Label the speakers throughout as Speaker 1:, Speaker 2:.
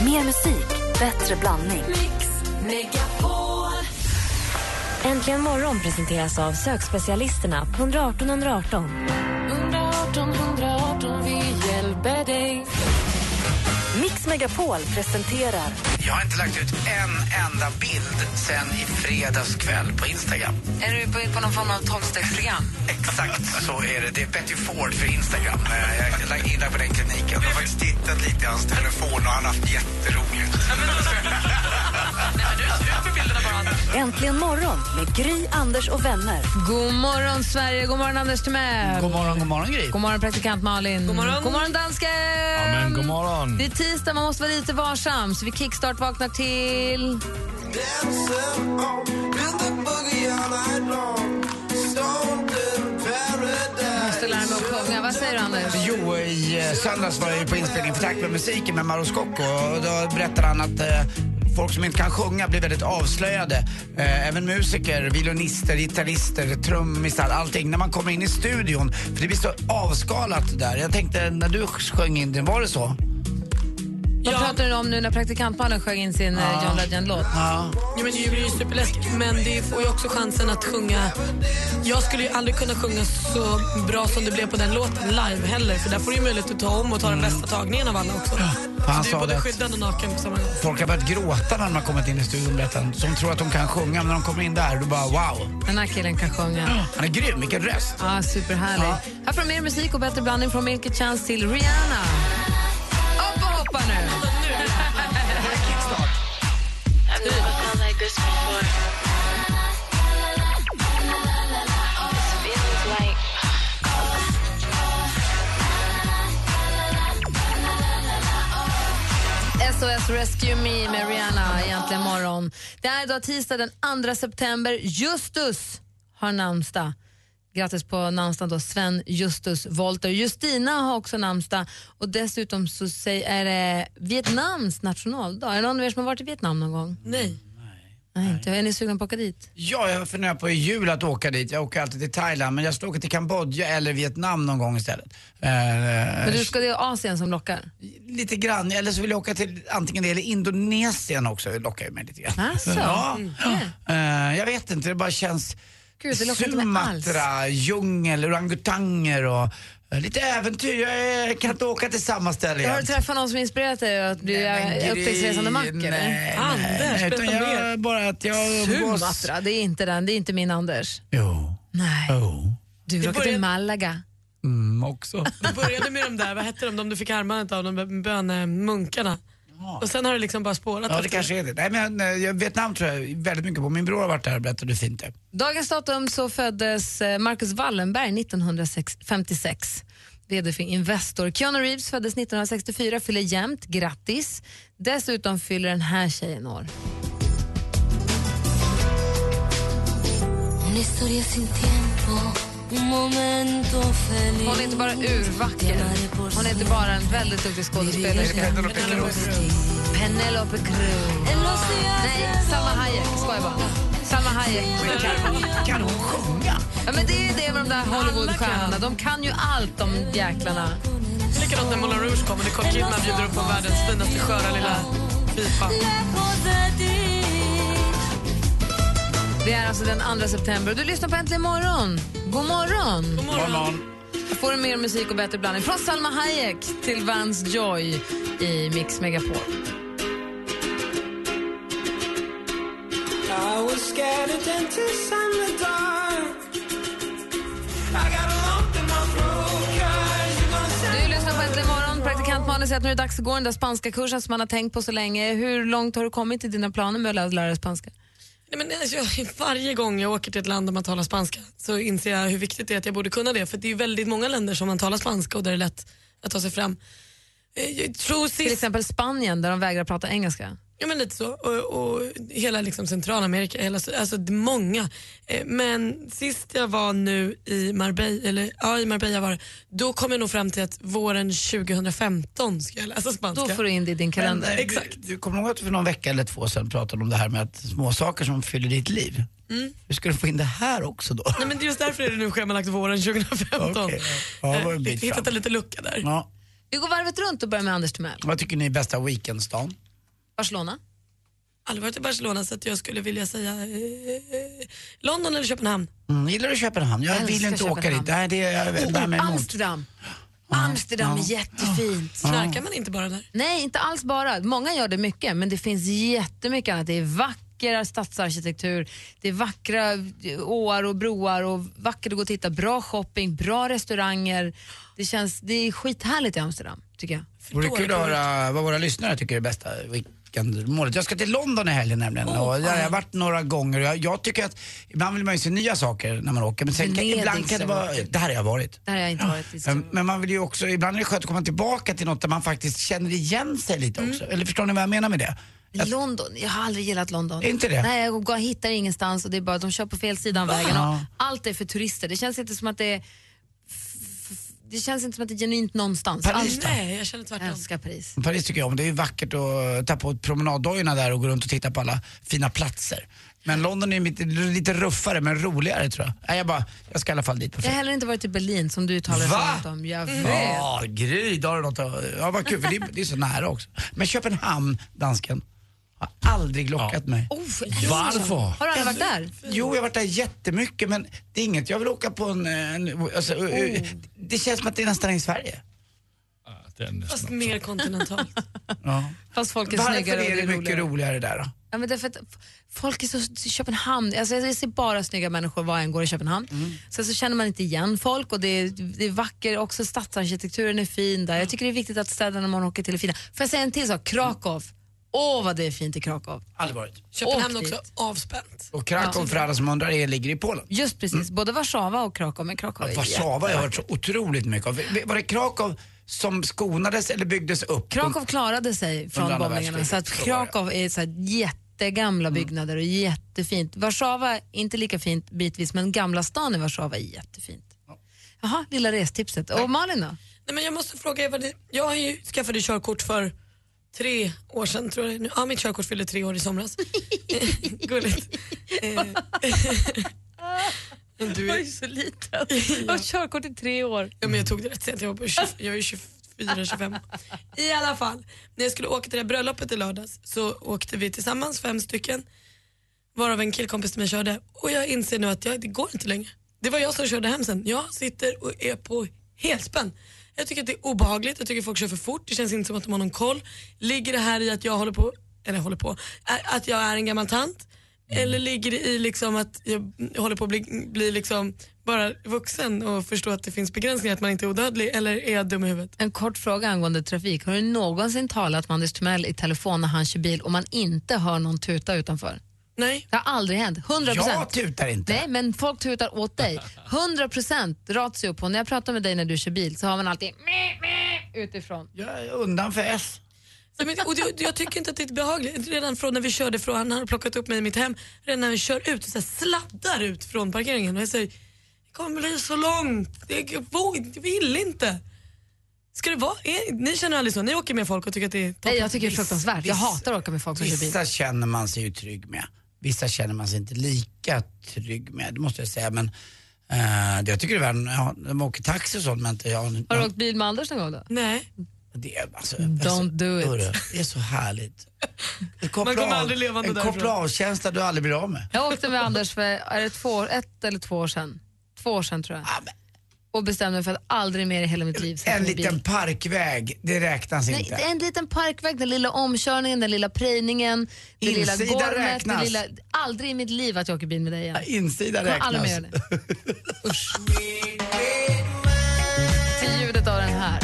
Speaker 1: Mer musik, bättre blandning.
Speaker 2: Mix Megapol.
Speaker 3: Äntligen morgon presenteras av sökspecialisterna på 118 118.
Speaker 2: 118 118, vi hjälper dig.
Speaker 1: Mix Megapol presenterar
Speaker 4: Jag har inte lagt ut en enda bild sen i fredags kväll på Instagram.
Speaker 5: Är du på, på någon form av tolvstegsprogram?
Speaker 4: Exakt så är det. Det är Betty Ford för Instagram. Eh, Jag la- gillar på den kliniken. Jag har faktiskt tittat lite i hans telefon och han har haft jätteroligt.
Speaker 1: Äntligen morgon med Gry, Anders och vänner.
Speaker 5: God morgon, Sverige! God morgon, Anders Timell!
Speaker 4: God morgon, god morgon Gry.
Speaker 5: God morgon, praktikant Malin! God morgon, god morgon dansken!
Speaker 6: Men god morgon.
Speaker 5: Det är tisdag, man måste vara lite varsam, så vi kickstart-vaknar till... Måste lära mig att sjunga. Vad säger du, Anders?
Speaker 4: Jo, i eh, söndags var jag ju på inspelning för Tack för musiken med Mauro Scocco och då berättade han att eh, folk som inte kan sjunga blir väldigt avslöjade. Eh, även musiker, violinister, gitarrister, trummisar, allting. När man kommer in i studion, för det blir så avskalat där. Jag tänkte, när du sjöng in den, var det så?
Speaker 5: Vad pratar du om nu när praktikant Malin sjöng in sin eh, John Legend-låt?
Speaker 4: Ja.
Speaker 7: Ja, men det blir ju superläskigt, men det får ju också chansen att sjunga. Jag skulle ju aldrig kunna sjunga så bra som det blev på den låten live heller, för där får du ju möjlighet att ta om och ta den bästa tagningen av alla också.
Speaker 4: han
Speaker 7: Så du
Speaker 4: sa
Speaker 7: är
Speaker 4: det.
Speaker 7: både skyddad och naken på samma gång.
Speaker 4: Folk har börjat gråta när de har kommit in i studion, berättade han. Som tror att de kan sjunga, men när de kommer in där, då bara wow.
Speaker 5: Den här killen kan sjunga.
Speaker 4: Han är grym, vilken röst.
Speaker 5: Ah, superhärlig. Här får du mer musik och bättre blandning från Milky Chance till Rihanna. Upp och hoppa nu! SOS Rescue Me med Rihanna egentligen morgon. Det är idag tisdag den 2 september. Justus har namnsdag. Grattis på namnsdagen då, Sven Justus Wolter. Justina har också namnsdag och dessutom så säg- är det Vietnams nationaldag. Är det någon av er som har varit i Vietnam någon gång?
Speaker 7: Nej.
Speaker 5: Nej, inte. Är ni sugna på att åka dit?
Speaker 4: Ja, jag funderar på i jul att åka dit. Jag åker alltid till Thailand, men jag ska åka till Kambodja eller Vietnam någon gång istället. Eh,
Speaker 5: Men du ska, det är Asien som lockar.
Speaker 4: Lite grann, eller så vill jag åka till antingen det eller Indonesien också. Det lockar ju mig lite grann.
Speaker 5: Asså?
Speaker 4: Ja. Eh, jag vet inte, det bara känns
Speaker 5: Gud, det lockar inte mig alls.
Speaker 4: Sumatra, djungel, orangutanger och eh, lite äventyr. Jag eh, kan inte åka till samma ställe
Speaker 5: Har du
Speaker 4: igen.
Speaker 5: träffat någon som inspirerat dig att bli
Speaker 4: Men
Speaker 5: eh,
Speaker 4: Gry,
Speaker 5: upptäcktsresande mack?
Speaker 4: Nej,
Speaker 5: eller? Ah,
Speaker 4: nej, nej,
Speaker 7: Anders,
Speaker 4: Eh, utan
Speaker 7: berätta
Speaker 4: jag, bara att jag umgås.
Speaker 5: Sumatra, det är inte den. Det är inte min Anders.
Speaker 4: Jo.
Speaker 5: Nej.
Speaker 4: Jo.
Speaker 5: Du vill
Speaker 7: Det
Speaker 5: åka
Speaker 7: börjar-
Speaker 5: till Malaga.
Speaker 4: Mm, också.
Speaker 7: Det började med de där, vad hette de, de du fick armarna av, de bönemunkarna. Och sen har det liksom bara spårat.
Speaker 4: Ja, det
Speaker 7: efter.
Speaker 4: kanske är det. Nej, men eh, jag- Vietnam tror jag väldigt mycket på. Min bror har varit där och berättade hur fint det är.
Speaker 5: Dagens datum så föddes eh, Marcus Wallenberg 1956. VD för Investor. Keanu Reeves föddes 1964, fyller jämnt, grattis. Dessutom fyller den här tjejen år. Hon är inte bara urvacker, hon är inte bara en väldigt duktig skådespelerska.
Speaker 4: Penelope Cruz.
Speaker 5: Penelope Cruz. Nej, Salma Hayek. Skojar bara. Salma Hayek.
Speaker 4: Kan, kan hon sjunga?
Speaker 5: Ja, men det är ju det med de där Hollywoodstjärnorna. De kan ju allt, de jäklarna.
Speaker 7: Likadant när Moulin Rouge kom och Nicole Kidman bjuder upp på världens finaste sköra lilla pipa.
Speaker 5: Det är alltså den 2 september och du lyssnar på Äntligen morgon. God morgon!
Speaker 7: God morgon.
Speaker 5: Här får du mer musik och bättre blandning från Salma Hayek till Vans Joy i Mix Megapol. Du lyssnar på Äntligen morgon. Praktikant Malin säger att nu är det dags att gå den där spanska kursen som man har tänkt på så länge. Hur långt har du kommit i dina planer med att lära dig spanska?
Speaker 7: Nej, men alltså, jag, varje gång jag åker till ett land där man talar spanska så inser jag hur viktigt det är att jag borde kunna det. För det är ju väldigt många länder som man talar spanska och där det är lätt att ta sig fram. Eh, Jag tror
Speaker 5: Till
Speaker 7: sist,
Speaker 5: exempel Spanien där de vägrar prata engelska.
Speaker 7: ja men lite så. Och, och hela liksom Centralamerika, hela, Syd- alltså det är många. Eh, Men sist jag var nu i Marbella, eller ja i Marbella var det, då kom jag nog fram till att våren 2015 ska jag läsa spanska.
Speaker 5: Då får du in det i din
Speaker 4: Men,
Speaker 5: kalender.
Speaker 4: eh,
Speaker 7: Exakt.
Speaker 4: Du, du kommer ihåg att du för någon vecka eller två sedan pratade om det här med att små saker som fyller ditt liv. Hur ska du få in det här också då?
Speaker 7: Nej, men just därför är det nu schemalagt våren 2015.
Speaker 4: Okej, ja. Ja, det var en
Speaker 7: Eh,
Speaker 4: bit fram.
Speaker 7: Hittat en liten lucka där.
Speaker 4: Ja.
Speaker 5: Vi går varvet runt och börjar med Anders Timell.
Speaker 4: Vad tycker ni är bästa weekendsdagen?
Speaker 5: Barcelona?
Speaker 7: Aldrig varit i Barcelona så att jag skulle vilja säga eh, London eller Köpenhamn.
Speaker 4: Mm, gillar du Köpenhamn? Jag,
Speaker 5: Jag
Speaker 4: vill inte
Speaker 5: älskar
Speaker 4: åka
Speaker 5: Köpenhamn.
Speaker 4: dit. Nej, det är jag väl
Speaker 5: Oh,
Speaker 4: med emot.
Speaker 5: Amsterdam. Amsterdam är jättefint.
Speaker 7: Knarkar man inte bara där?
Speaker 5: Nej, inte alls bara. Många gör det mycket, men det finns jättemycket annat. Det är vackra stadsarkitektur, det är vackra eh, åar och broar och vackert att gå och titta. Bra shopping, bra restauranger. Det, känns, det är skithärligt i Amsterdam, tycker jag.
Speaker 4: Vore
Speaker 7: Då är
Speaker 4: kul
Speaker 7: det
Speaker 4: att
Speaker 7: roligt.
Speaker 4: höra vad våra lyssnare tycker är bästa weekendmålet. Jag ska till London i helgen nämligen och där har jag varit några gånger. Jag, jag tycker att ibland vill man ju se nya saker när man åker men sen kan,
Speaker 5: Venedig
Speaker 4: ibland kan det
Speaker 5: så
Speaker 4: vara,
Speaker 5: vackert.
Speaker 4: där har jag varit.
Speaker 5: Där har jag inte varit. i så-
Speaker 4: Men- Men man vill ju också, ibland är det skönt att komma tillbaka till något där man faktiskt känner igen sig lite också. Eller förstår ni vad jag menar med det?
Speaker 5: London, jag har aldrig gillat London.
Speaker 4: Är inte det?
Speaker 5: Nej, jag går- hittar ingenstans och det är bara de kör på fel sida av vägen. Och
Speaker 4: Ja.
Speaker 5: allt är för turister. Det känns inte som att det är... f- f- Det känns inte som att det är genuint någonstans.
Speaker 4: Paris
Speaker 5: Allt-
Speaker 4: då?
Speaker 7: Nej, jag känner
Speaker 5: Jag
Speaker 7: tvärtom.
Speaker 5: älskar Paris.
Speaker 4: Paris tycker jag om, det är ju vackert att eh, ta på promenaddojorna där och gå runt och titta på alla fina platser. Men London är ju lite, lite ruffare men roligare tror jag. Nej, jag, bara, jag ska i alla fall dit på
Speaker 5: Jag har
Speaker 4: fredag.
Speaker 5: heller inte varit i Berlin som du talade
Speaker 4: Va? Mm.
Speaker 5: så varmt om. Jag vet.
Speaker 4: Ja, Gry, då har du något att, Ja, vad kul, för det, det är så nära också. Men Köpenhamn, dansken, har aldrig lockat mig.
Speaker 5: Oh, älskar
Speaker 6: Varför?
Speaker 5: Har du aldrig varit där?
Speaker 4: Jo, jag har varit där jättemycket, men det är inget jag vill åka på en... en alltså, eh, Det känns som att det är nästan i Sverige.
Speaker 6: Det är nästan
Speaker 7: Fast mer kontinentalt.
Speaker 4: Ja.
Speaker 5: Fast folk är
Speaker 4: Varför
Speaker 5: snyggare och
Speaker 4: är det mycket
Speaker 5: roligare.
Speaker 4: roligare där då?
Speaker 5: Ja, men därför att f- folk är så i Köpenhamn, alltså jag ser bara snygga människor var jag än går i Köpenhamn. Sen så känner man inte igen folk och det är, det är vacker, också stadsarkitekturen är fin där. Jag tycker det är viktigt att städerna man åker till är fina. Får jag säga en till sak? Krakow. Åh vad det är fint i Krakow.
Speaker 4: Aldrig varit.
Speaker 7: Köpenhamn
Speaker 5: Åk dit.
Speaker 7: också avspänt.
Speaker 4: Och Krakow, för alla som undrar, är- ligger i Polen.
Speaker 5: Just precis, både Warszawa och Krakow. Men Krakow är
Speaker 4: Warszawa har jag hört så otroligt mycket av. Var det Krakow som skonades eller byggdes upp?
Speaker 5: Krakow klarade sig
Speaker 4: Under
Speaker 5: från
Speaker 4: andra
Speaker 5: bombningarna så att
Speaker 4: världskriget, Mm. så var det.
Speaker 5: Krakow är så här jättegamla byggnader och jättefint. Warszawa, inte lika fint bitvis, men Gamla stan i Warszawa är jättefint. Jaha, lilla restipset. Och Malin då?
Speaker 7: Nej, men jag måste fråga, Eva, det- jag har ju skaffade körkort för tre år sedan tror jag. Ja, mitt körkort fyllde tre år i somras. Eh, Gulligt. Eh, Du är,
Speaker 5: så liten. Jag har körkort i tre år.
Speaker 7: ja, men jag tog det rätt sent, jag, var på 20, jag är 24, 25. I alla fall, när jag skulle åka till det här bröllopet i lördags så åkte vi tillsammans, fem stycken, varav en killkompis till mig körde. Och jag inser nu att jag, det går inte längre. Det var jag som körde hem sen. Jag sitter och är på helspänn. Jag tycker att det är obehagligt, jag tycker folk kör för fort, det känns inte som att de har någon koll. Ligger det här i att jag håller på, eller håller på, ä- att jag är en gammal tant? Eller ligger det i liksom att jag håller på att bli, bli liksom bara vuxen och förstå att det finns begränsningar, att man inte är odödlig? Eller är jag dum i huvudet?
Speaker 5: En kort fråga angående trafik. Har du någonsin talat med Anders Timell i telefon när han kör bil och man inte hör någon tuta utanför?
Speaker 7: Nej.
Speaker 5: Det har aldrig hänt. 100
Speaker 4: Jag tutar inte.
Speaker 5: Nej, men folk tutar åt dig. 100% ratio på. När jag pratar med dig när du kör bil så har man alltid meh, meh, utifrån.
Speaker 4: Jag är undan för S.
Speaker 7: Nej, men, och det, jag tycker inte att det är behagligt. Redan från när vi körde från, han har plockat upp mig i mitt hem, redan när vi kör ut, så här, sladdar ut från parkeringen och jag säger det kommer bli så långt, jag vå- jag vill inte. Ska det vara? Är, ni känner aldrig så, ni åker med folk och tycker att det är toppen.
Speaker 5: Nej, jag tycker det är fruktansvärt. Jag
Speaker 4: Vissa-
Speaker 5: hatar att åka med folk som kör bil.
Speaker 4: Vissa känner man sig ju trygg med. Vissa känner man sig inte lika trygg med, det måste jag säga. Men eh, det, jag tycker det är värre när jag- när man åker taxi och sånt. Men inte, jag,
Speaker 5: Har du åkt bil med Anders någon gång då?
Speaker 7: Nej,
Speaker 4: det, är- alltså,
Speaker 5: Don't do it.
Speaker 4: Hörru, det är så härligt. En koppla
Speaker 7: Man kommer
Speaker 4: av-
Speaker 7: aldrig levande
Speaker 4: En
Speaker 7: därifrån.
Speaker 4: koppla av-känsla du aldrig blir av med.
Speaker 5: Jag åkte med Anders för är det två, år- ett eller två år sedan. Två år sedan tror jag.
Speaker 4: Ja, men Och
Speaker 5: Och bestämde mig för att aldrig mer i hela mitt liv sätta
Speaker 4: En
Speaker 5: mig i
Speaker 4: liten
Speaker 5: bil.
Speaker 4: parkväg, det räknas
Speaker 5: Nej,
Speaker 4: inte.
Speaker 5: en liten parkväg, den lilla omkörningen, den lilla prejningen, det lilla
Speaker 4: Insida
Speaker 5: gormet. Det
Speaker 4: räknas.
Speaker 5: lilla, aldrig i mitt liv att jag åker bil med dig igen.
Speaker 4: Insida
Speaker 5: Jag kommer aldrig
Speaker 4: räknas.
Speaker 5: mer göra det. Usch. Till ljudet av den här.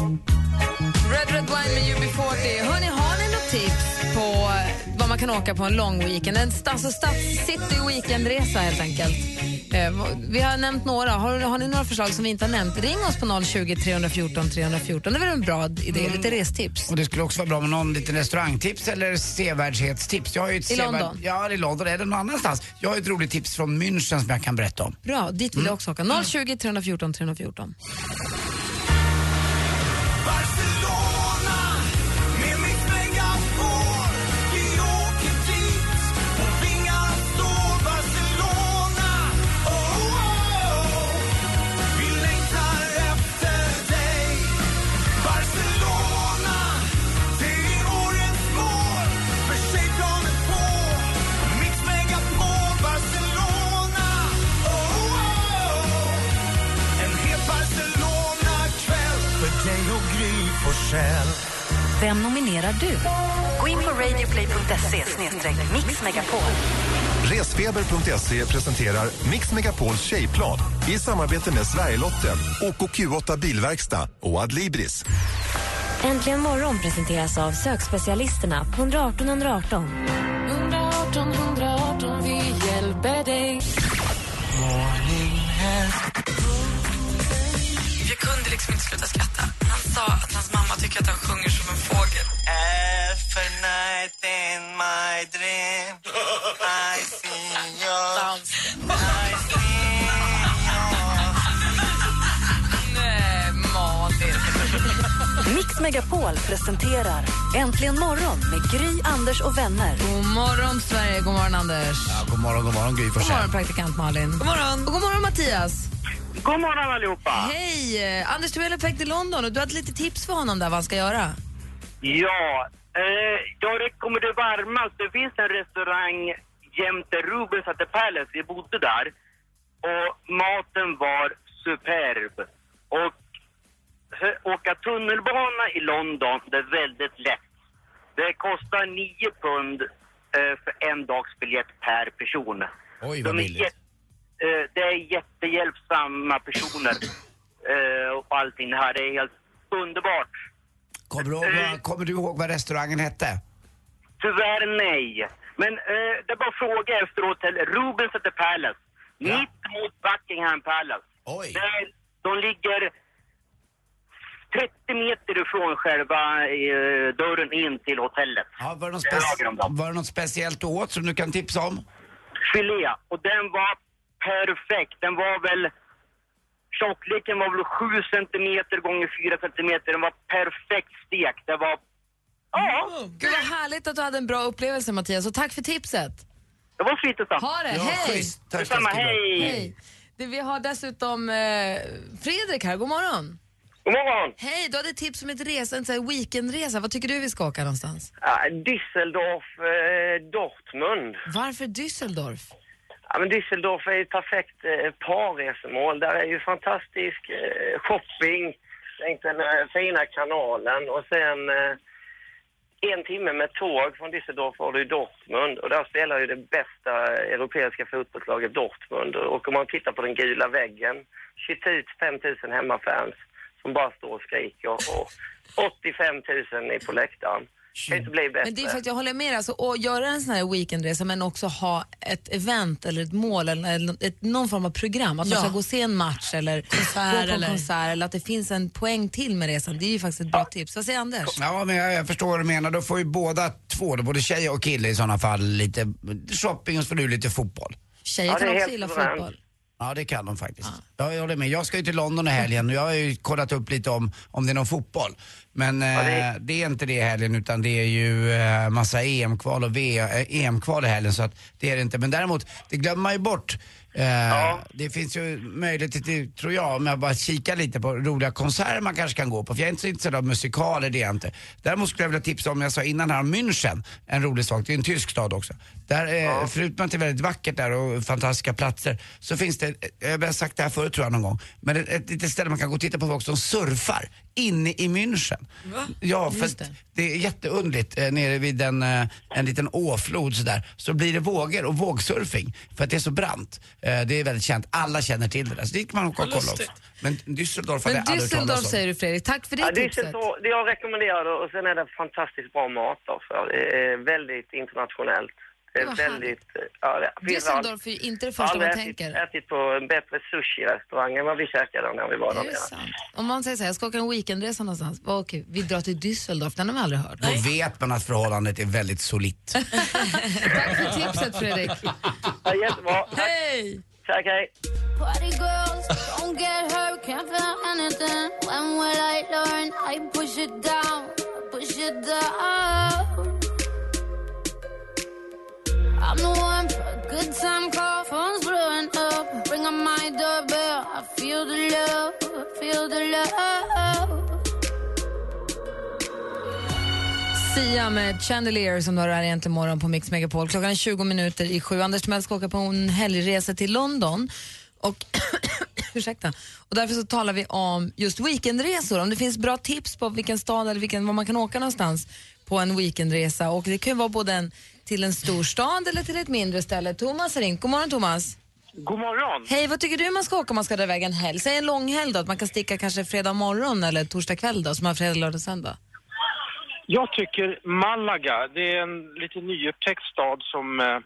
Speaker 5: Red Red Wine med UB40. Hörrni, har ni något tips på vad man kan åka på en lång weekend? En st- alltså stads city weekendresa helt enkelt. Eh, vad- Vi har nämnt några. Har, har ni några förslag som vi inte har nämnt? Ring oss på 020 314 314. Det är väl en bra idé? Lite restips.
Speaker 4: Och det skulle också vara bra med någon liten restaurangtips eller sevärdhetstips. Jag har ju ett
Speaker 5: I
Speaker 4: sevärd-
Speaker 5: London?
Speaker 4: Ja, i London. Eller någon annanstans. Jag har ett roligt tips från München som jag kan berätta om.
Speaker 5: Bra, dit vill jag också åka. 020 314 314.
Speaker 8: Barcelona, det är Oh, själv
Speaker 1: Vem nominerar du? Gå in på radioplay.se mixmegapol.
Speaker 8: Resfeber.se E presenterar Mix Megapols tjejplan i samarbete med Sverigelotten, OKQ8 Bilverkstad och Adlibris.
Speaker 3: Äntligen morgon presenteras av sökspecialisterna på 118 118.
Speaker 2: 118 118, vi hjälper dig.
Speaker 7: Jag kunde liksom inte sluta skratta. Han sa att hans mamma tycker att han sjunger som en fågel.
Speaker 9: Every night in my dream I see your I see
Speaker 7: Nej, Malin.
Speaker 1: Mix Megapol presenterar Äntligen morgon med Gry, Anders och vänner.
Speaker 5: God morgon, Sverige. God morgon, Anders.
Speaker 4: Ja, god morgon, god morgon Gry
Speaker 5: God
Speaker 4: Forssell.
Speaker 5: morgon, praktikant Malin. God morgon. Och god morgon, Mattias.
Speaker 10: God morgon
Speaker 4: Ah.
Speaker 10: allihopa!
Speaker 5: Hej! eh, Anders Timell är på väg till London och du hade lite tips för honom där vad han ska göra.
Speaker 10: Ja, eh, jag rekommenderar varmast. Det finns en restaurang jämte Rubens at the Palace. Vi bodde där och maten var superb. Och hö- åka tunnelbana i London, det är väldigt lätt. Det kostar 9 pund eh, för en dags biljett per person.
Speaker 4: Oj,
Speaker 10: De
Speaker 4: vad
Speaker 10: är
Speaker 4: billigt.
Speaker 10: jätte- eh, det är jättehjälpsamma personer eh, och allting det här. Det är helt underbart.
Speaker 4: Kommer du, ihåg vad- kommer du ihåg vad restaurangen hette?
Speaker 10: Tyvärr nej. Men eh, det är bara att fråga efteråt till Rubens at the Palace.
Speaker 4: Ja.
Speaker 10: Mitt mot Buckingham Palace.
Speaker 4: Oj.
Speaker 10: Där, de ligger 30 meter ifrån själva eh, dörren in till hotellet.
Speaker 4: Ja, var, det något
Speaker 10: Jag lagar om
Speaker 4: speci-
Speaker 10: dem.
Speaker 4: var det något speciellt du åt som du kan tipsa om?
Speaker 10: Filé. Och den var perfekt. Den var väl... Tjockleken var väl 7 centimeter gånger 4 centimeter. Den var perfekt stekt. Det var... Ja,
Speaker 5: Gud vad härligt att du hade en bra upplevelse Mattias och tack för tipset.
Speaker 10: det var fint och sant.
Speaker 5: Ha det,
Speaker 4: Ja,
Speaker 5: hej!
Speaker 4: schysst. Tack,
Speaker 10: Detsamma,
Speaker 4: tack ska du ha.
Speaker 10: hej!
Speaker 5: hej. Du, vi har dessutom eh, Fredrik här, god morgon.
Speaker 10: God morgon!
Speaker 5: Hej, du hade tips om ett resa, en sån här weekendresa. Vad tycker du vi ska åka någonstans?
Speaker 10: Ja, Düsseldorf, eh, Dortmund.
Speaker 5: Varför Düsseldorf?
Speaker 10: Ja, men Düsseldorf är ett perfekt eh, parresemål. Där är ju fantastisk eh, shopping längs den eh, fina kanalen och sen eh, en timme med tåg från Düsseldorf var du i Dortmund och där spelar ju det bästa europeiska fotbollslaget Dortmund och om man tittar på den gula väggen, 20 ut 5 000 hemmafans som bara står och skriker och 85 000 är på läktaren. Det kan inte bli bättre.
Speaker 5: Men det är för att jag håller med dig, alltså, att göra en sån här weekendresa men också ha ett event eller ett mål eller eller ett, någon form av program. Att
Speaker 7: Ja.
Speaker 5: man ska gå och se en match eller gå på en
Speaker 7: eller-
Speaker 5: konsert eller att det finns en poäng till med resan. Det är ju faktiskt ett bra tips. Vad säger Anders?
Speaker 4: Ja, men jag, jag förstår vad du menar. Då får ju båda två, då både tjej och kille i sådana fall, lite shopping och så får du lite fotboll.
Speaker 5: Tjejer
Speaker 10: Ja, det
Speaker 5: kan
Speaker 10: är
Speaker 5: också
Speaker 10: helt
Speaker 5: gilla
Speaker 10: suveränt.
Speaker 5: fotboll.
Speaker 4: Ja, det kan de faktiskt. Ja. Jag håller med. Jag ska ju till London i helgen och jag har ju kollat upp lite om, om det är någon fotboll. Men eh,
Speaker 10: det-
Speaker 4: det är inte det i helgen utan det är ju eh, massa EM-kval och v- eh, EM-kval i helgen så att det är det inte. Men däremot, det glömmer man ju bort. Eh, Det finns ju möjlighet till, tror jag, om jag bara kikar lite på roliga konserter man kanske kan gå på. För jag är inte så intresserad av musikaler, det är jag inte. Däremot skulle jag vilja tipsa om, jag sa innan här, om München. En rolig sak, det är en tysk stad också. Där, eh, Förutom att det är väldigt vackert där och fantastiska platser, så finns det, eh, jag har sagt det här förut tror jag någon gång, men ett, ett litet ställe man kan gå och titta på folk som surfar inne i München. Va? Ja, fast
Speaker 5: det.
Speaker 4: det är jätteundligt eh, nere vid en, eh, en liten åflod sådär. Så blir det vågor och vågsurfing för att det är så brant. Eh, det är väldigt känt. Alla känner till det där. Så dit kan man åka och kolla också. Men Düsseldorf hade
Speaker 5: Men
Speaker 4: jag aldrig hört talas
Speaker 5: Düsseldorf
Speaker 4: om.
Speaker 5: säger du Fredrik, tack för det
Speaker 10: Ja,
Speaker 5: tipset.
Speaker 10: Düsseldorf, det jag rekommenderar det och sen är det fantastiskt bra mat också. Det är väldigt internationellt. Det är
Speaker 5: Vad
Speaker 10: väldigt... Ja, det finns allt.
Speaker 5: Düsseldorf är ju inte det första man
Speaker 10: aldrig ätit,
Speaker 5: tänker.
Speaker 10: ätit på en bättre sushi-restaurang än vad vi käkade när vi var där
Speaker 5: Det är
Speaker 10: nere.
Speaker 5: sant. Om man säger så här, jag ska åka en weekendresa någonstans. Vad åker vi? Vi drar till Düsseldorf, den har man aldrig hört.
Speaker 4: Då vet man att förhållandet är väldigt solitt.
Speaker 5: Tack för tipset Fredrik.
Speaker 10: Ja, jättebra. Tack,
Speaker 5: Hej!
Speaker 10: tack hej.
Speaker 2: Party girls, don't get hurt, can't feel anything. When will I learn? I push it down, I push it down. I'm the one for a good time call, phone's blowing up. Ring on my doorbell, I feel the love, I feel the love.
Speaker 5: Sia med Chandelier som du har här egentligen morgon på Mix Megapol. Klockan är 20 minuter i sju. Anders Timell ska åka på en helgresa till London. Och ursäkta. Och därför så talar vi om just weekendresor, om det finns bra tips på vilken stad eller vilken, var man kan åka någonstans på en weekendresa. Och det kan ju vara både en, till en stor stad eller till ett mindre ställe. Thomas har ringt. God morgon Thomas.
Speaker 11: God morgon.
Speaker 5: Hej, vad tycker du man ska åka om man ska dra iväg en helg? Säg en lång helg då, att man kan sticka kanske fredag morgon eller torsdag kväll då, så man har fredag, lördag, söndag.
Speaker 11: Jag tycker Malaga, det är en lite nyupptäckt stad som eh,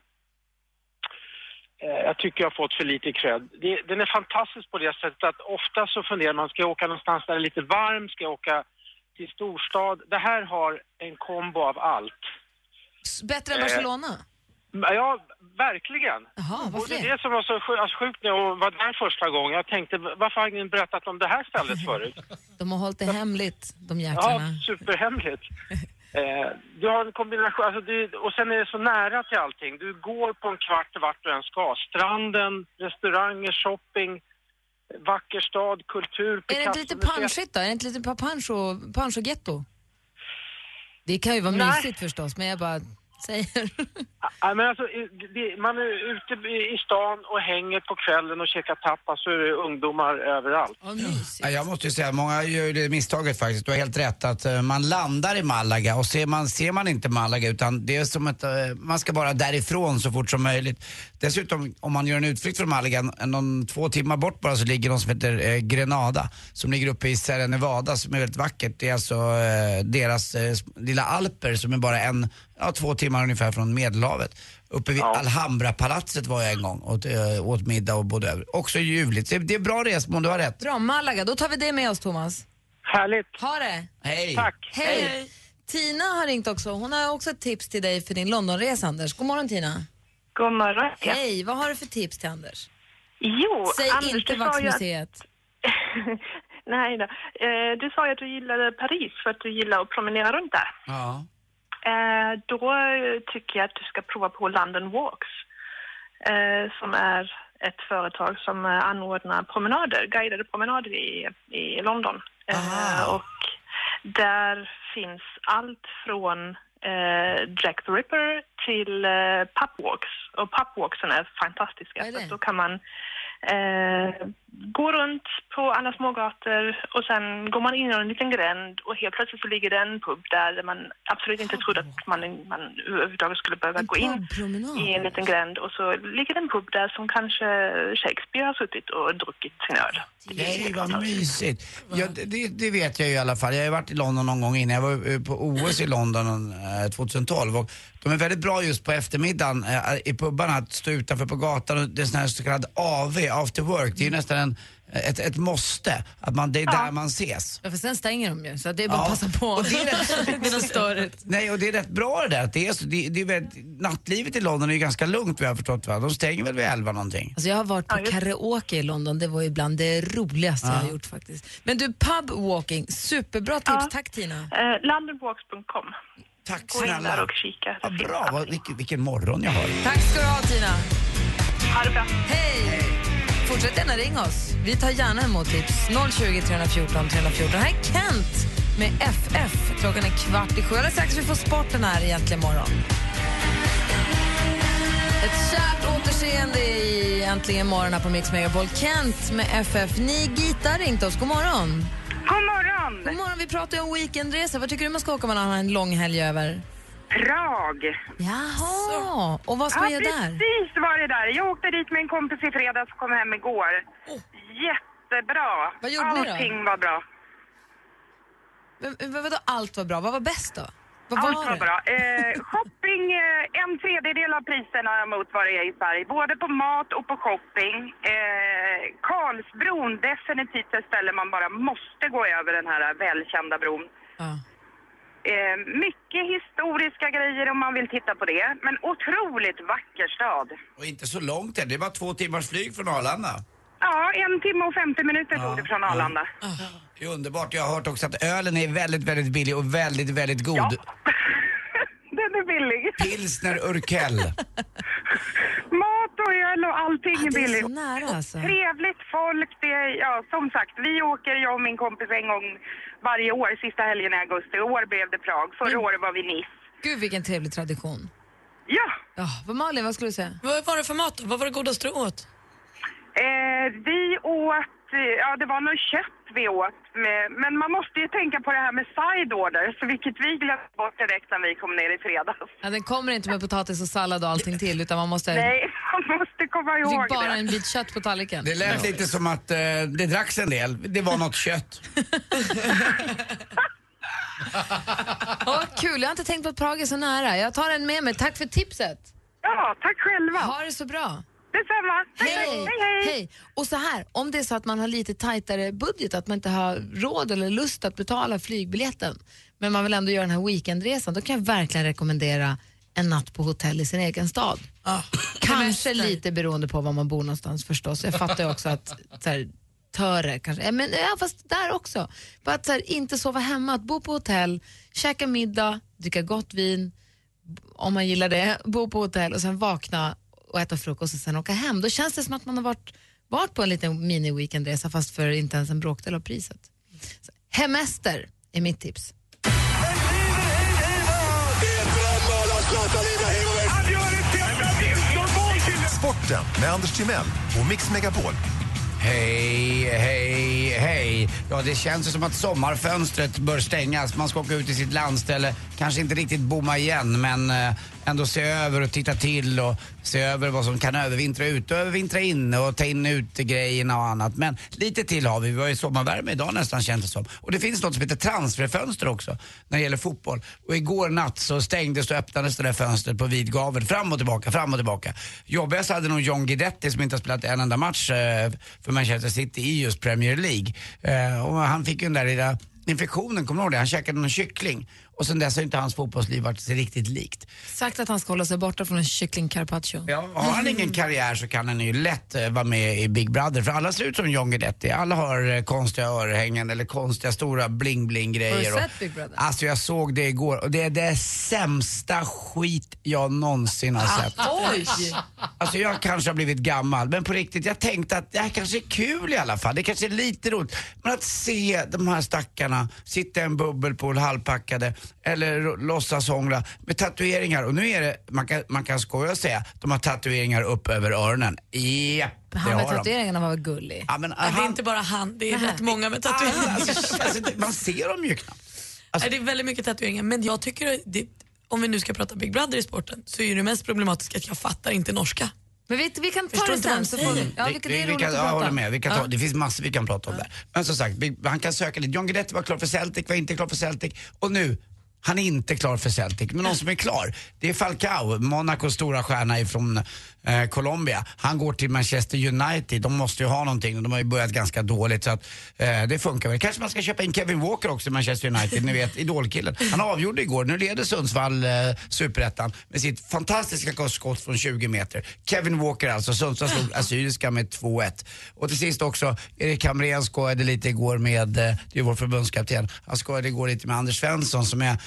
Speaker 11: eh, jag tycker har fått för lite cred. Det, den är fantastisk på det sättet att ofta så funderar man, ska jag åka någonstans där det är lite varmt, ska jag åka till storstad? Det här har en kombo av allt.
Speaker 5: Bättre än
Speaker 11: Eh,
Speaker 5: Barcelona?
Speaker 11: Ja, verkligen.
Speaker 5: Jaha,
Speaker 11: Och
Speaker 5: varför
Speaker 11: det
Speaker 5: det?
Speaker 11: är det som var så sj- alltså, sjukt när jag var där första gången. Jag tänkte, varför har ingen berättat om det här stället förut?
Speaker 5: De har hållit det hemligt, de
Speaker 11: Ja,
Speaker 5: jäklarna.
Speaker 11: superhemligt. Eh, du har en kombination, alltså det, och sen är det så nära till allting. Du går på en kvart vart du än ska. Stranden, restauranger, shopping, vacker stad, kultur,
Speaker 5: Är det inte lite panschigt då? Är det inte lite pancho, pancho-getto? Det kan ju vara
Speaker 11: Nej.
Speaker 5: mysigt förstås, men jag bara säger.
Speaker 11: Ja, men alltså, i- det, man är ute i stan och hänger på kvällen och käkar tapas så är det ungdomar överallt.
Speaker 4: Ja, jag måste ju säga, många gör ju det misstaget faktiskt. Du har helt rätt att eh, man landar i Malaga och ser man, ser man inte Malaga utan det är som att eh, man ska bara därifrån så fort som möjligt. Dessutom om man gör en utflykt från Malaga, en- någon två timmar bort bara så ligger någon som heter eh, Grenada som ligger uppe i Sierra Nevada som är väldigt vackert. Det är alltså eh, deras eh, sm- lilla alper som är bara en, ja, två timmar ungefär från Medelhavet. Uppe vid Alhambra-palatset var jag en gång och eh, åt middag och bodde över. Också ljuvligt. Det, det är bra resmål, du har rätt.
Speaker 5: Bra, Malaga. Då tar vi det med oss, Thomas.
Speaker 11: Härligt.
Speaker 5: Ha det.
Speaker 4: Hej.
Speaker 11: Tack.
Speaker 5: Hej. Tina har ringt också. Hon har också ett tips till dig för din Londonresa, Anders. God morgon, Tina.
Speaker 12: God morgon. ja.
Speaker 5: Hej. Vad har du för tips till Anders?
Speaker 12: Jo,
Speaker 5: Säg
Speaker 12: Anders,
Speaker 5: inte
Speaker 12: du sa ju
Speaker 5: Vaxmuseet.
Speaker 12: Att, nej då. Eh, du sa ju att du gillade Paris för att du gillar att promenera runt där.
Speaker 4: Ja.
Speaker 12: Eh, då tycker jag att du ska prova på London Walks eh, som är ett företag som eh, anordnar promenader, guidade promenader i, i London. Eh, och där finns allt från eh, Jack the Ripper till eh, pubwalks. Och pubwalksen är fantastiska. För att då kan man eh, gå runt på alla smågator och sen går man in i en liten gränd och helt plötsligt så ligger det en pub där där man absolut inte trodde att man, man överhuvudtaget skulle behöva gå in i en liten gränd och så ligger det en pub där som kanske Shakespeare har suttit och druckit sin öl.
Speaker 4: Nej, vad mysigt. Ja, det- det, det vet jag ju i alla fall. Jag har ju varit i London någon gång innan. Jag var eh, på OS i London eh, 2012 och de är väldigt bra just på eftermiddagen eh, i pubarna att stå utanför på gatan. Och Det är sån här så kallad AV, after work. Det är ju nästan en, ett, ett måste. Att man, det är där man ses.
Speaker 5: Ja, för sen stänger de ju, så att det är bara att
Speaker 4: Ja.
Speaker 5: passa på.
Speaker 4: Och det är rätt-
Speaker 5: Medan störet.
Speaker 4: Nej, och det är rätt bra det där. att Det är så, det, det är väldigt, nattlivet i London är ju ganska lugnt vad jag har förstått. Va? De stänger väl vid elva någonting.
Speaker 5: Alltså jag har varit på karaoke i London, det var ju bland det roligaste jag
Speaker 4: Ja.
Speaker 5: har gjort faktiskt. Men du, pub walking, superbra tips. Tack Tina.
Speaker 12: Eh, Londonwalks.com.
Speaker 4: Tack
Speaker 12: Gå in där och kika.
Speaker 4: Ja, bra, vad, vilken, vilken morgon jag har.
Speaker 5: Tack ska du ha Tina.
Speaker 12: Ha det bra.
Speaker 5: Hej! Fortsätt gärna ring oss. Vi tar gärna emot tips. 020 314 314. Här är Kent med FF. Klockan är kvart i sju. Alldeles strax vi får sporten här egentligen imorgon. Ett kärt återseende i Äntligen morgon här på Mix Megapol. Kent med FF. Nigita ringt oss. God morgon.
Speaker 13: God morgon!
Speaker 5: God morgon. Vi pratar ju om weekendresa. Vad tycker du man ska åka om man har en lång helg över?
Speaker 13: Prag.
Speaker 5: Jaha! Och vad ska
Speaker 13: ja,
Speaker 5: man göra där?
Speaker 13: precis var det där. Jag åkte dit med en kompis i fredags och kom hem igår. Jättebra.
Speaker 5: Oh. Vad gjorde ni då?
Speaker 13: Allting var bra.
Speaker 5: Men- men Vadå allt var bra? Vad var bäst då? Vad
Speaker 13: Allt var
Speaker 5: det?
Speaker 13: bra. Eh, shopping, eh, en tredjedel av priserna mot vad det är i Sverige. Både på mat och på shopping. Eh, Karlsbron, definitivt ett ställe man bara måste gå över den här välkända bron. Eh, mycket historiska grejer om man vill titta på det. Men otroligt vacker stad.
Speaker 4: Och inte så långt än. Det är bara två timmars flyg från Arlanda.
Speaker 13: Ja, en timme och 50 minuter tog det från Arlanda.
Speaker 5: Ah.
Speaker 4: Det är underbart. Jag har hört också att ölen är väldigt, väldigt billig och väldigt, väldigt god.
Speaker 13: Den är billig.
Speaker 4: Pilsner Urkel.
Speaker 13: Mat och öl och allting är billigt.
Speaker 5: Ah, så nära alltså.
Speaker 13: Trevligt folk. Det är, ja, som sagt, vi åker, jag och min kompis, en gång varje år, sista helgen i augusti. I år blev det Prag, förra
Speaker 5: Mm.
Speaker 13: året var vi Nice.
Speaker 5: Gud vilken trevlig tradition.
Speaker 13: Ja!
Speaker 5: Ja, vad Malin, vad skulle du säga?
Speaker 7: Vad var det för mat då? Vad var det godaste du åt?
Speaker 13: Eh, vi åt, eh, ja det var nog kött vi åt, med, men man måste ju tänka på det här med side order, så vilket vi glömde bort direkt när vi kom ner i fredags.
Speaker 5: Ja, den kommer inte med potatis och sallad och allting till utan man måste...
Speaker 13: Nej, man måste komma
Speaker 5: Du
Speaker 13: ihåg
Speaker 5: fick bara
Speaker 13: det.
Speaker 5: en bit kött på tallriken.
Speaker 4: Det lät lite som att eh, det dracks en del. Det var något kött.
Speaker 5: Ja, kul, jag har inte tänkt på att Prag är så nära. Jag tar den med mig. Tack för tipset.
Speaker 13: Ja, tack själva.
Speaker 5: Ha det så bra.
Speaker 13: Detsamma.
Speaker 5: Hej. Hej, hej. Och så här, om det är så att man har lite tajtare budget, att man inte har råd eller lust att betala flygbiljetten, men man vill ändå göra den här weekendresan, då kan jag verkligen rekommendera en natt på hotell i sin egen stad. kanske lite beroende på var man bor någonstans förstås. Jag fattar ju också att så här, Töre kanske, Ja, men ja, fast där också. Bara att så här, inte sova hemma, att bo på hotell, käka middag, dricka gott vin, om man gillar det, bo på hotell och sen vakna och äta frukost och sen åka hem. Då känns det som att man har varit, varit på en liten mini-weekendresa fast för inte ens en bråkdel av priset. Så, hemester är mitt tips.
Speaker 8: Sporten med Anders Timell och Mix Megapol.
Speaker 4: Hej, hej, hej. Ja, det känns ju som att sommarfönstret bör stängas. Man ska åka ut i sitt landställe, kanske inte riktigt bomma igen, men eh, ändå se över och titta till och se över vad som kan övervintra ute och övervintra inne och ta in utegrejerna och annat. Men lite till har vi. Vi har ju sommarvärme idag nästan känns det som. Och det finns något som heter transferfönster också när det gäller fotboll. Och igår natt så stängdes och öppnades det där fönstret på vid gavel. Fram och tillbaka, fram och tillbaka. Jobbigast hade nog John Guidetti som inte har spelat en enda match eh, för Manchester City i just Premier League. Eh, Och han fick ju den där lilla infektionen, kommer du ihåg det? Han käkade någon kyckling. Och sen dess har inte hans fotbollsliv varit sig riktigt likt.
Speaker 5: Sagt att han ska hålla sig borta från en kyckling carpaccio.
Speaker 4: Ja, Har han
Speaker 5: Mm.
Speaker 4: ingen karriär så kan han ju lätt eh, vara med i Big Brother. För alla ser ut som John Guidetti. Alla har eh, konstiga örhängen eller konstiga stora bling-bling-grejer.
Speaker 5: Har du
Speaker 4: och-
Speaker 5: sett Big Brother?
Speaker 4: Alltså jag såg det igår och det är det sämsta skit jag någonsin har sett.
Speaker 5: Ah, Oj!
Speaker 4: Alltså jag kanske har blivit gammal men på riktigt jag tänkte att det här kanske är kul i alla fall. Det kanske är lite roligt. Men att se de här stackarna sitta i en bubbelpool halvpackade eller ro- låtsashångla med tatueringar. Och nu är det, man kan, man kan skoja och säga, de har tatueringar upp över öronen. Ja, det
Speaker 5: Han med
Speaker 4: har de.
Speaker 5: tatueringarna var väl gullig?
Speaker 4: Ja, men,
Speaker 7: Det är
Speaker 4: han,
Speaker 7: inte bara han, det är rätt många med tatueringar.
Speaker 4: alltså, alltså, man ser dem ju knappt. Alltså-
Speaker 7: Nej, Det är väldigt mycket tatueringar, men jag tycker, det, om vi nu ska prata Big Brother i sporten, så är ju det mest problematiska att jag fattar inte norska.
Speaker 5: Men vi, vi kan ta
Speaker 7: Förstår
Speaker 5: det
Speaker 7: inte vad
Speaker 5: sen.
Speaker 7: han
Speaker 5: Så får vi,
Speaker 7: säger.
Speaker 5: ja,
Speaker 4: Vi-
Speaker 5: vi,
Speaker 4: vi-
Speaker 5: det är
Speaker 4: vi
Speaker 5: roligt
Speaker 4: kan-
Speaker 5: att
Speaker 4: ja, jag
Speaker 5: prata.
Speaker 4: håller med. Vi kan ta,
Speaker 5: Ja.
Speaker 4: Det finns massor vi kan prata om där. Men som sagt, vi- han kan söka lite. John Guidetti var klar för Celtic, var inte klar för Celtic. Och nu, han är inte klar för Celtic. Men någon som är klar, det är Falcao, Monacos stora stjärna ifrån eh, Colombia. Han går till Manchester United. De måste ju ha någonting och de har ju börjat ganska dåligt så att eh, det funkar väl. Kanske man ska köpa in Kevin Walker också i Manchester United, ni vet idolkillen. Han avgjorde igår. Nu leder Sundsvall eh, superettan med sitt fantastiska skott från 20 meter. Kevin Walker alltså, Sundsvall slog Assyriska med 2-1. Och till sist också, Erik Hamrén skojade lite igår med, eh, det är ju vår förbundskapten, han skojade igår lite med Anders Svensson som är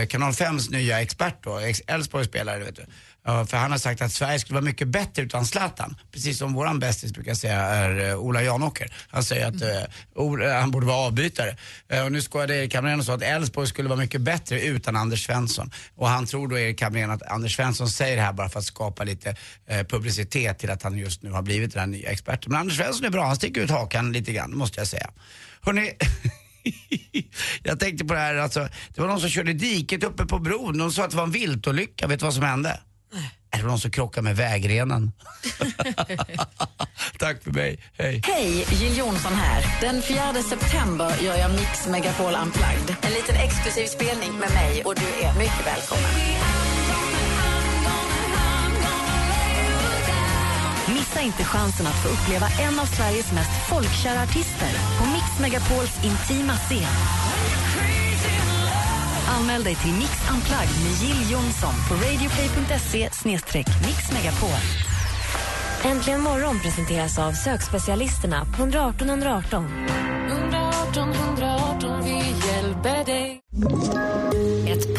Speaker 4: eh, Kanal 5s nya expert då, ex- Elfsborgs spelare vet du. Ja, för han har sagt att Sverige skulle vara mycket bättre utan Zlatan. Precis som våran bästis brukar säga är eh, Ola Janåker. Han säger att eh, Or- eh, han borde vara avbytare. Eh, och nu skojade Erik Hamrén och sa att Elfsborg skulle vara mycket bättre utan Anders Svensson. Och han tror då Erik Hamrén att Anders Svensson säger det här bara för att skapa lite eh, publicitet till att han just nu har blivit den här nya experten. Men Anders Svensson är bra, han sticker ut hakan lite grann måste jag säga. Hörrni, jag tänkte på det här alltså, det var någon som körde i diket uppe på bron. De sa att det var en viltolycka, vet du vad som hände? Är det var någon som krockar med vägrenen? Tack för mig, hej.
Speaker 1: Hej, Jill Johnson här. Den 4 september gör jag Mix Megapol Unplugged. En liten exklusiv spelning med mig och du är mycket välkommen. Missa inte chansen att få uppleva en av Sveriges mest folkkära artister på Mix Megapols intima scen. Anmäl dig till Mix Unplugged med Jill Johnson på radioplay.se mixmegapol.
Speaker 3: Äntligen morgon presenteras av sökspecialisterna på 118 118.
Speaker 2: 118 118 vi hjälper dig
Speaker 14: Ett